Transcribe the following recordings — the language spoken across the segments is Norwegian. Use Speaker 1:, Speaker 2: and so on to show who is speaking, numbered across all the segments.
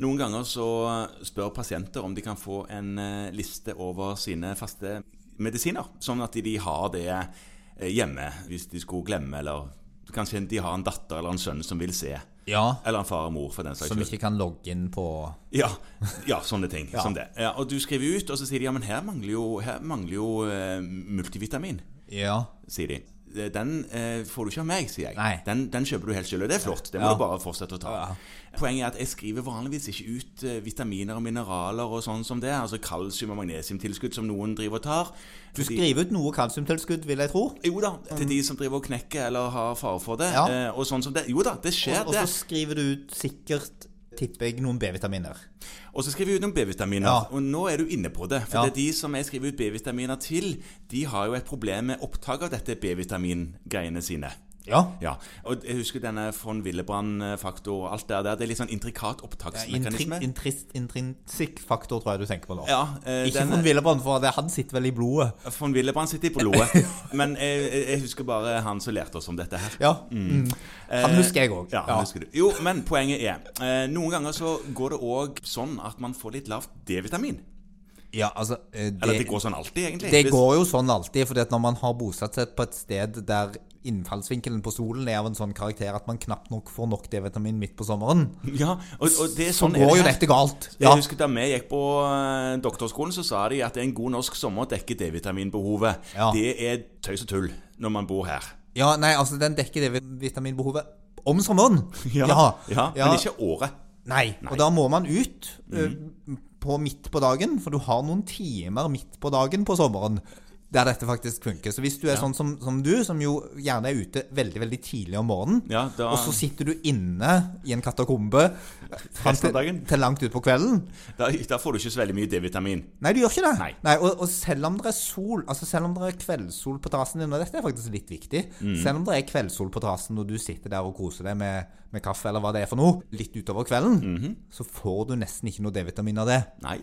Speaker 1: Noen ganger så spør pasienter om de kan få en eh, liste over sine faste medisiner, sånn at de har det eh, hjemme hvis de skulle glemme, eller kanskje de har en datter eller en sønn som vil se,
Speaker 2: Ja,
Speaker 1: eller en far og mor for den saks
Speaker 2: som
Speaker 1: skyld.
Speaker 2: ikke kan logge inn på
Speaker 1: Ja, ja, sånne ting
Speaker 2: Ja.
Speaker 1: som det. Ja, og du skriver ut, og så sier de ja, men her mangler jo, her mangler jo eh, multivitamin,
Speaker 2: Ja.
Speaker 1: sier de. Eh, Den eh, får du ikke av meg, sier jeg.
Speaker 2: Nei.
Speaker 1: Den, den kjøper du helt selv, og det er flott. Det må
Speaker 2: Ja.
Speaker 1: du bare fortsette å ta.
Speaker 2: Ja.
Speaker 1: Poenget er at jeg skriver vanligvis ikke ut eh, vitaminer og mineraler og sånn som det, altså kalsium- og magnesiumtilskudd som noen driver og tar.
Speaker 2: Du skriver ut noe kalsiumtilskudd, vil jeg tro.
Speaker 1: Jo da, til de som driver og knekker eller har fare for det,
Speaker 2: Ja.
Speaker 1: eh, og sånn som det. Jo da, det skjer,
Speaker 2: Og, og så
Speaker 1: det.
Speaker 2: skriver du ut sikkert, tipper jeg, noen B-vitaminer.
Speaker 1: Og så skriver vi ut noen B-vitaminer.
Speaker 2: Ja.
Speaker 1: Og nå er du inne på det. For
Speaker 2: Ja.
Speaker 1: det er de som jeg skriver ut B-vitaminer til, de har jo et problem med opptak av dette B-vitamingreiene sine.
Speaker 2: Ja.
Speaker 1: Ja, og jeg husker denne von Willebrand-faktor og alt det der. Det er litt sånn intrikat
Speaker 2: Intrin,
Speaker 1: opptaksmekanisme.
Speaker 2: intrist, intrinsisk faktor, tror jeg du tenker på nå.
Speaker 1: Ja, eh,
Speaker 2: Ikke
Speaker 1: den-
Speaker 2: von Willebrand, for det, han sitter vel i blodet.
Speaker 1: von Willebrand sitter i blodet. Men jeg, jeg- jeg husker bare han som lærte oss om dette her. Eh,
Speaker 2: Ja. Mm. Han husker jeg òg.
Speaker 1: Ja, han husker du. Jo, men poenget er eh, Noen ganger så går det òg sånn at man får litt lavt D-vitamin.
Speaker 2: ja, altså eh,
Speaker 1: Eller
Speaker 2: det,
Speaker 1: det går sånn alltid, egentlig.
Speaker 2: det
Speaker 1: Hvis-
Speaker 2: går jo sånn alltid, fordi at når man har bosatt seg på et sted der innfallsvinkelen på solen er av en sånn karakter at man knapt nok får nok D-vitamin midt på sommeren,
Speaker 1: Ja, og, og det er
Speaker 2: så
Speaker 1: sånn er
Speaker 2: går jo
Speaker 1: her.
Speaker 2: dette galt. Ja.
Speaker 1: Jeg husker Da vi gikk på eh, doktorskolen, så sa de at en god norsk sommer dekker D-vitaminbehovet.
Speaker 2: Ja.
Speaker 1: Det er tøys og tull når man bor her.
Speaker 2: ja, nei, altså den dekker det vitaminbehovet om sommeren.
Speaker 1: Ja, Men ikke året.
Speaker 2: Nei. Og da må man ut ø,
Speaker 1: Mhm.
Speaker 2: på midt på dagen, for du har noen timer midt på dagen på sommeren der dette faktisk funker. Så hvis du er sånn som, som du, som jo gjerne er ute veldig veldig tidlig om morgenen,
Speaker 1: Ja, da-
Speaker 2: og så sitter du inne i en katakombe fram
Speaker 1: Resten av
Speaker 2: til,
Speaker 1: dagen.
Speaker 2: til langt utpå kvelden
Speaker 1: Da, da får du ikke så veldig mye D-vitamin.
Speaker 2: Nei, du gjør ikke det.
Speaker 1: Nei.
Speaker 2: og, og selv om det er sol, altså selv om det er kveldssol på terrassen din, og dette er faktisk litt viktig,
Speaker 1: Mm.
Speaker 2: selv om det er kveldssol på terrassen og du sitter der og koser deg med, med kaffe eller hva det er for noe, litt utover kvelden,
Speaker 1: Mhm.
Speaker 2: så får du nesten ikke noe D-vitamin av det.
Speaker 1: Nei.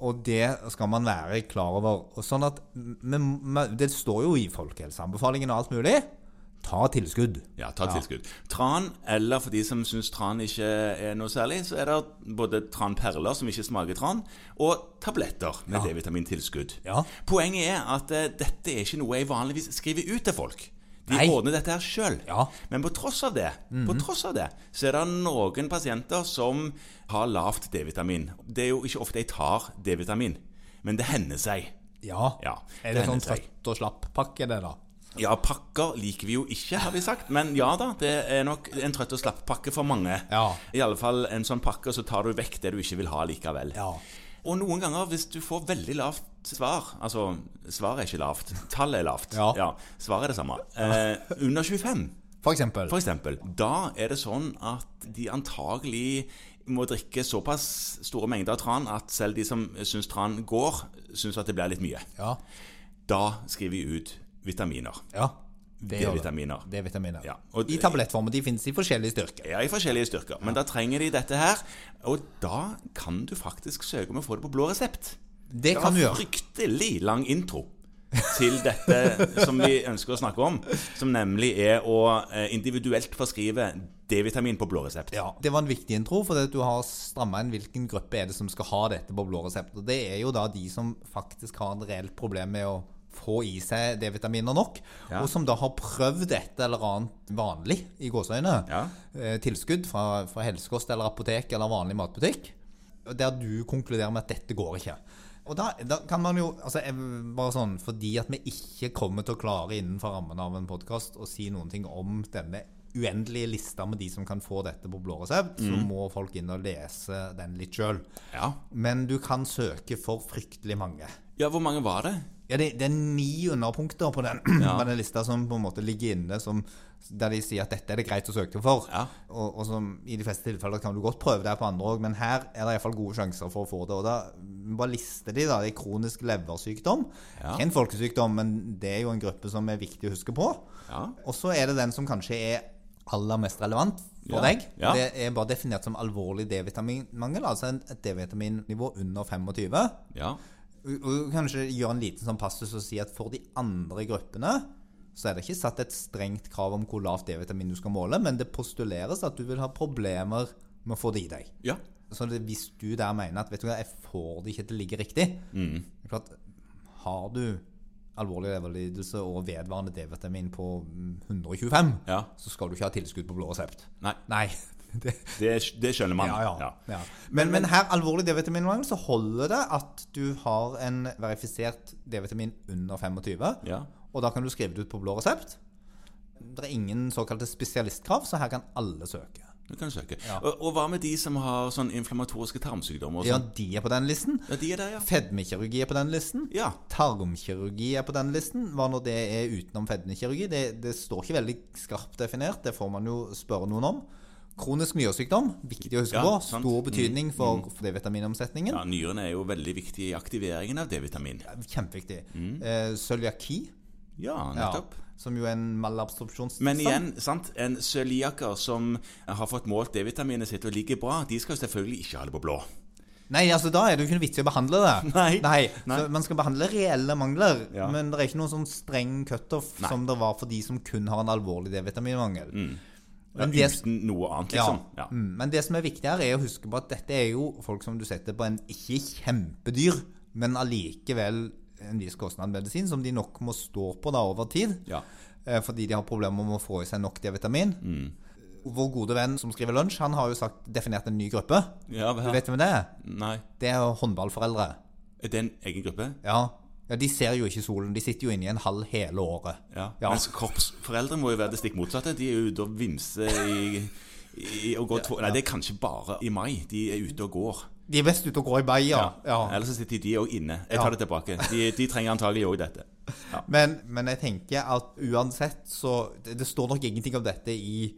Speaker 2: Og det skal man være klar over. Og sånn at, men, men, det står jo i folkehelseanbefalingen og alt mulig, ta tilskudd.
Speaker 1: Ja, ta tilskudd. Tran, eller for de som syns tran ikke er noe særlig, så er det både tranperler, som ikke smaker tran, og tabletter med D-vitamintilskudd.
Speaker 2: Ja.
Speaker 1: Poenget er at eh, dette er ikke noe jeg vanligvis skriver ut til folk. De
Speaker 2: Nei.
Speaker 1: ordner dette her sjøl.
Speaker 2: Ja.
Speaker 1: Men på tross av det, på tross av det, så er det noen pasienter som har lavt D-vitamin. Det er jo ikke ofte jeg tar D-vitamin, men det hender seg.
Speaker 2: Ja.
Speaker 1: Ja,
Speaker 2: Er det
Speaker 1: hender
Speaker 2: sånn
Speaker 1: seg.
Speaker 2: trøtt og slapp pakke det da?
Speaker 1: Ja, pakker liker vi jo ikke, har vi sagt. Men ja da, det er nok en trøtt og slapp-pakke for mange.
Speaker 2: Ja.
Speaker 1: I alle fall en sånn pakke, så tar du vekk det du ikke vil ha likevel.
Speaker 2: Ja.
Speaker 1: Og noen ganger, hvis du får veldig lavt svar Altså, svaret er ikke lavt. Tallet er lavt.
Speaker 2: Ja.
Speaker 1: Svaret er det samme. Eh, under 25,
Speaker 2: For eksempel.
Speaker 1: for eksempel. Da er det sånn at de antagelig må drikke såpass store mengder av tran at selv de som syns tran går, syns at det blir litt mye.
Speaker 2: Ja.
Speaker 1: Da skriver vi ut vitaminer.
Speaker 2: Ja. Det gjør det.
Speaker 1: D-vitaminer.
Speaker 2: D-vitaminer.
Speaker 1: Ja, og-
Speaker 2: I tablettformer. De finnes i forskjellige styrker.
Speaker 1: Ja, i forskjellige styrker. Men da trenger de dette her. Og da kan du faktisk søke om å få det på blå resept.
Speaker 2: Det kan du gjøre.
Speaker 1: var fryktelig lang intro til dette som vi ønsker å snakke om, som nemlig er å eh, individuelt forskrive D-vitamin på blå resept.
Speaker 2: Ja, Det var en viktig intro, for du har stramma inn hvilken gruppe er det som skal ha dette på blå resept. Og det er jo da de som faktisk har en reelt problem med å få i seg D-vitaminer nok,
Speaker 1: Ja.
Speaker 2: og som da har prøvd et eller annet vanlig i gåseøyne,
Speaker 1: Ja.
Speaker 2: eh, tilskudd fra, fra helsekost eller apotek eller vanlig matbutikk, der du konkluderer med at dette går ikke. Og da, da kan man jo, altså eh, bare sånn, fordi at vi ikke kommer til å klare innenfor rammen av en podkast å si noen ting om denne uendelige lista med de som kan få dette på blå resept, så må folk inn og lese den litt sjøl.
Speaker 1: Ja.
Speaker 2: Men du kan søke for fryktelig mange.
Speaker 1: ja, hvor mange var det?
Speaker 2: Ja, det, det er ni underpunkter på den, på den lista som på en måte ligger inne, som, der de sier at dette er det greit å søke for.
Speaker 1: Ja.
Speaker 2: Og, og som i de fleste tilfeller kan du godt prøve deg på andre òg, men her er det iallfall gode sjanser for å få det. Og da bare lister de, da. Det er kronisk leversykdom.
Speaker 1: Ja.
Speaker 2: Ikke en folkesykdom, men det er jo en gruppe som er viktig å huske på.
Speaker 1: Ja.
Speaker 2: Og så er det den som kanskje er aller mest relevant for
Speaker 1: Ja.
Speaker 2: deg.
Speaker 1: Ja.
Speaker 2: Det er bare definert som alvorlig D-vitaminmangel, altså en- et D-vitaminnivå under 25.
Speaker 1: Ja.
Speaker 2: Og og kanskje gjøre en liten sånn passus og si at for de andre gruppene så er det ikke satt et strengt krav om hvor lavt D-vitamin du skal måle, men det postuleres at du vil ha problemer med å få det i deg.
Speaker 1: ja.
Speaker 2: Så det, hvis du der mener at vet du hva, jeg får det ikke til å ligge riktig det er klart, Har du alvorlig leverlidelse og vedvarende D-vitamin på mm, 125,
Speaker 1: Ja.
Speaker 2: så skal du ikke ha tilskudd på blå resept.
Speaker 1: Nei.
Speaker 2: Nei. Det,
Speaker 1: Det, det skjønner man.
Speaker 2: ja, ja. ja.
Speaker 1: Ja.
Speaker 2: Men, men her, alvorlig D-vitaminmangel, så holder det at du har en verifisert D-vitamin under 25.
Speaker 1: Ja.
Speaker 2: Og da kan du skrive det ut på blå resept. Det er ingen såkalte spesialistkrav, så her kan alle søke.
Speaker 1: Du kan søke. Og, og hva med de som har sånn inflammatoriske tarmsykdommer? Og
Speaker 2: Ja,
Speaker 1: sånn?
Speaker 2: de er på den listen.
Speaker 1: ja, de er der, ja.
Speaker 2: Fedmekirurgi er på den listen.
Speaker 1: Ja.
Speaker 2: Tarmkirurgi er på den listen. Hva nå det er utenom fedmekirurgi, det, det står ikke veldig skarpt definert. Det får man jo spørre noen om. Kronisk myresykdom, viktig å huske
Speaker 1: Ja,
Speaker 2: på.
Speaker 1: sant. Mm,
Speaker 2: Stor betydning for, for D-vitaminomsetningen.
Speaker 1: ja. Nyrene er jo veldig viktige i aktiveringen av D-vitamin.
Speaker 2: Kjempeviktig. Eh, Cøliaki,
Speaker 1: Ja,
Speaker 2: ja,
Speaker 1: Mm. nettopp.
Speaker 2: som jo er en malabsorpsjonstilstand.
Speaker 1: Men igjen, sant? en cøliaker som har fått målt D-vitaminet sitt og ligger bra, de skal jo selvfølgelig ikke ha det på blå.
Speaker 2: Nei, altså da er det jo ikke noe vits i å behandle det.
Speaker 1: Nei. Nei.
Speaker 2: Så man skal behandle reelle mangler,
Speaker 1: Ja.
Speaker 2: men det er ikke noen sånn streng cutoff
Speaker 1: Nei. Mm.
Speaker 2: som det var for de som kun har en alvorlig D-vitaminmangel.
Speaker 1: Ja,
Speaker 2: Men, det-
Speaker 1: uten noe annet,
Speaker 2: ja.
Speaker 1: liksom. Ja.
Speaker 2: Mm, men det som er viktig her, er å huske på at dette er jo folk som du setter på en ikke kjempedyr, men allikevel en viss kostnad medisin, som de nok må stå på da over tid.
Speaker 1: Ja.
Speaker 2: Eh, Fordi de har problemer med å få i seg nok D-vitamin.
Speaker 1: Mm.
Speaker 2: Vår gode venn som skriver lunsj, han har jo sagt, definert en ny gruppe.
Speaker 1: Ja, hva-
Speaker 2: Du vet hvem det er?
Speaker 1: Nei.
Speaker 2: Det er håndballforeldre.
Speaker 1: Er det en egen gruppe?
Speaker 2: Ja. ja, de ser jo ikke solen. De sitter jo inne i en halv hele året.
Speaker 1: Ja.
Speaker 2: Ja.
Speaker 1: Mens kroppsforeldre må jo være det stikk motsatte. De er jo ute og vimser i, i og går to Nei, det er kanskje bare i mai de er ute og går.
Speaker 2: De er best ute og går i bay, ja. ja.
Speaker 1: Ellers så sitter de òg inne. Jeg tar det tilbake. De, de trenger antagelig òg dette. Ja.
Speaker 2: Men, men jeg tenker at uansett så Det, det står nok ingenting om dette i,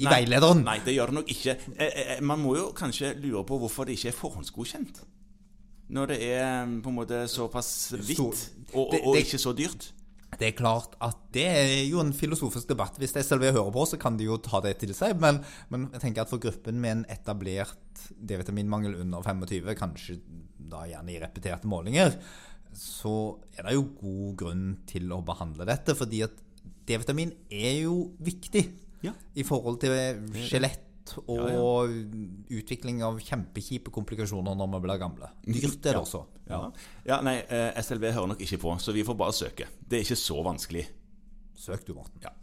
Speaker 2: i
Speaker 1: Nei.
Speaker 2: veilederen.
Speaker 1: Nei, det gjør det nok ikke. Eh, eh, Man må jo kanskje lure på hvorfor det ikke er forhåndsgodkjent. Når det er mm, på en måte såpass vidt, og, og,
Speaker 2: Det-
Speaker 1: og
Speaker 2: det-
Speaker 1: ikke så dyrt.
Speaker 2: Det er klart at det er jo en filosofisk debatt. Hvis det er selve jeg hører på, så kan de jo ta det til seg. Men, men jeg tenker at for gruppen med en etablert D-vitaminmangel under 25, kanskje da gjerne i repeterte målinger, så er det jo god grunn til å behandle dette. Fordi at D-vitamin er jo viktig
Speaker 1: Ja.
Speaker 2: i forhold til skjelett. Og
Speaker 1: Ja,
Speaker 2: utvikling av kjempekjipe komplikasjoner når vi blir gamle. Dyrt er det også.
Speaker 1: Ja. ja, nei, eh, SLV hører nok ikke på, så vi får bare søke. Det er ikke så vanskelig.
Speaker 2: Søk du, Morten.
Speaker 1: Ja.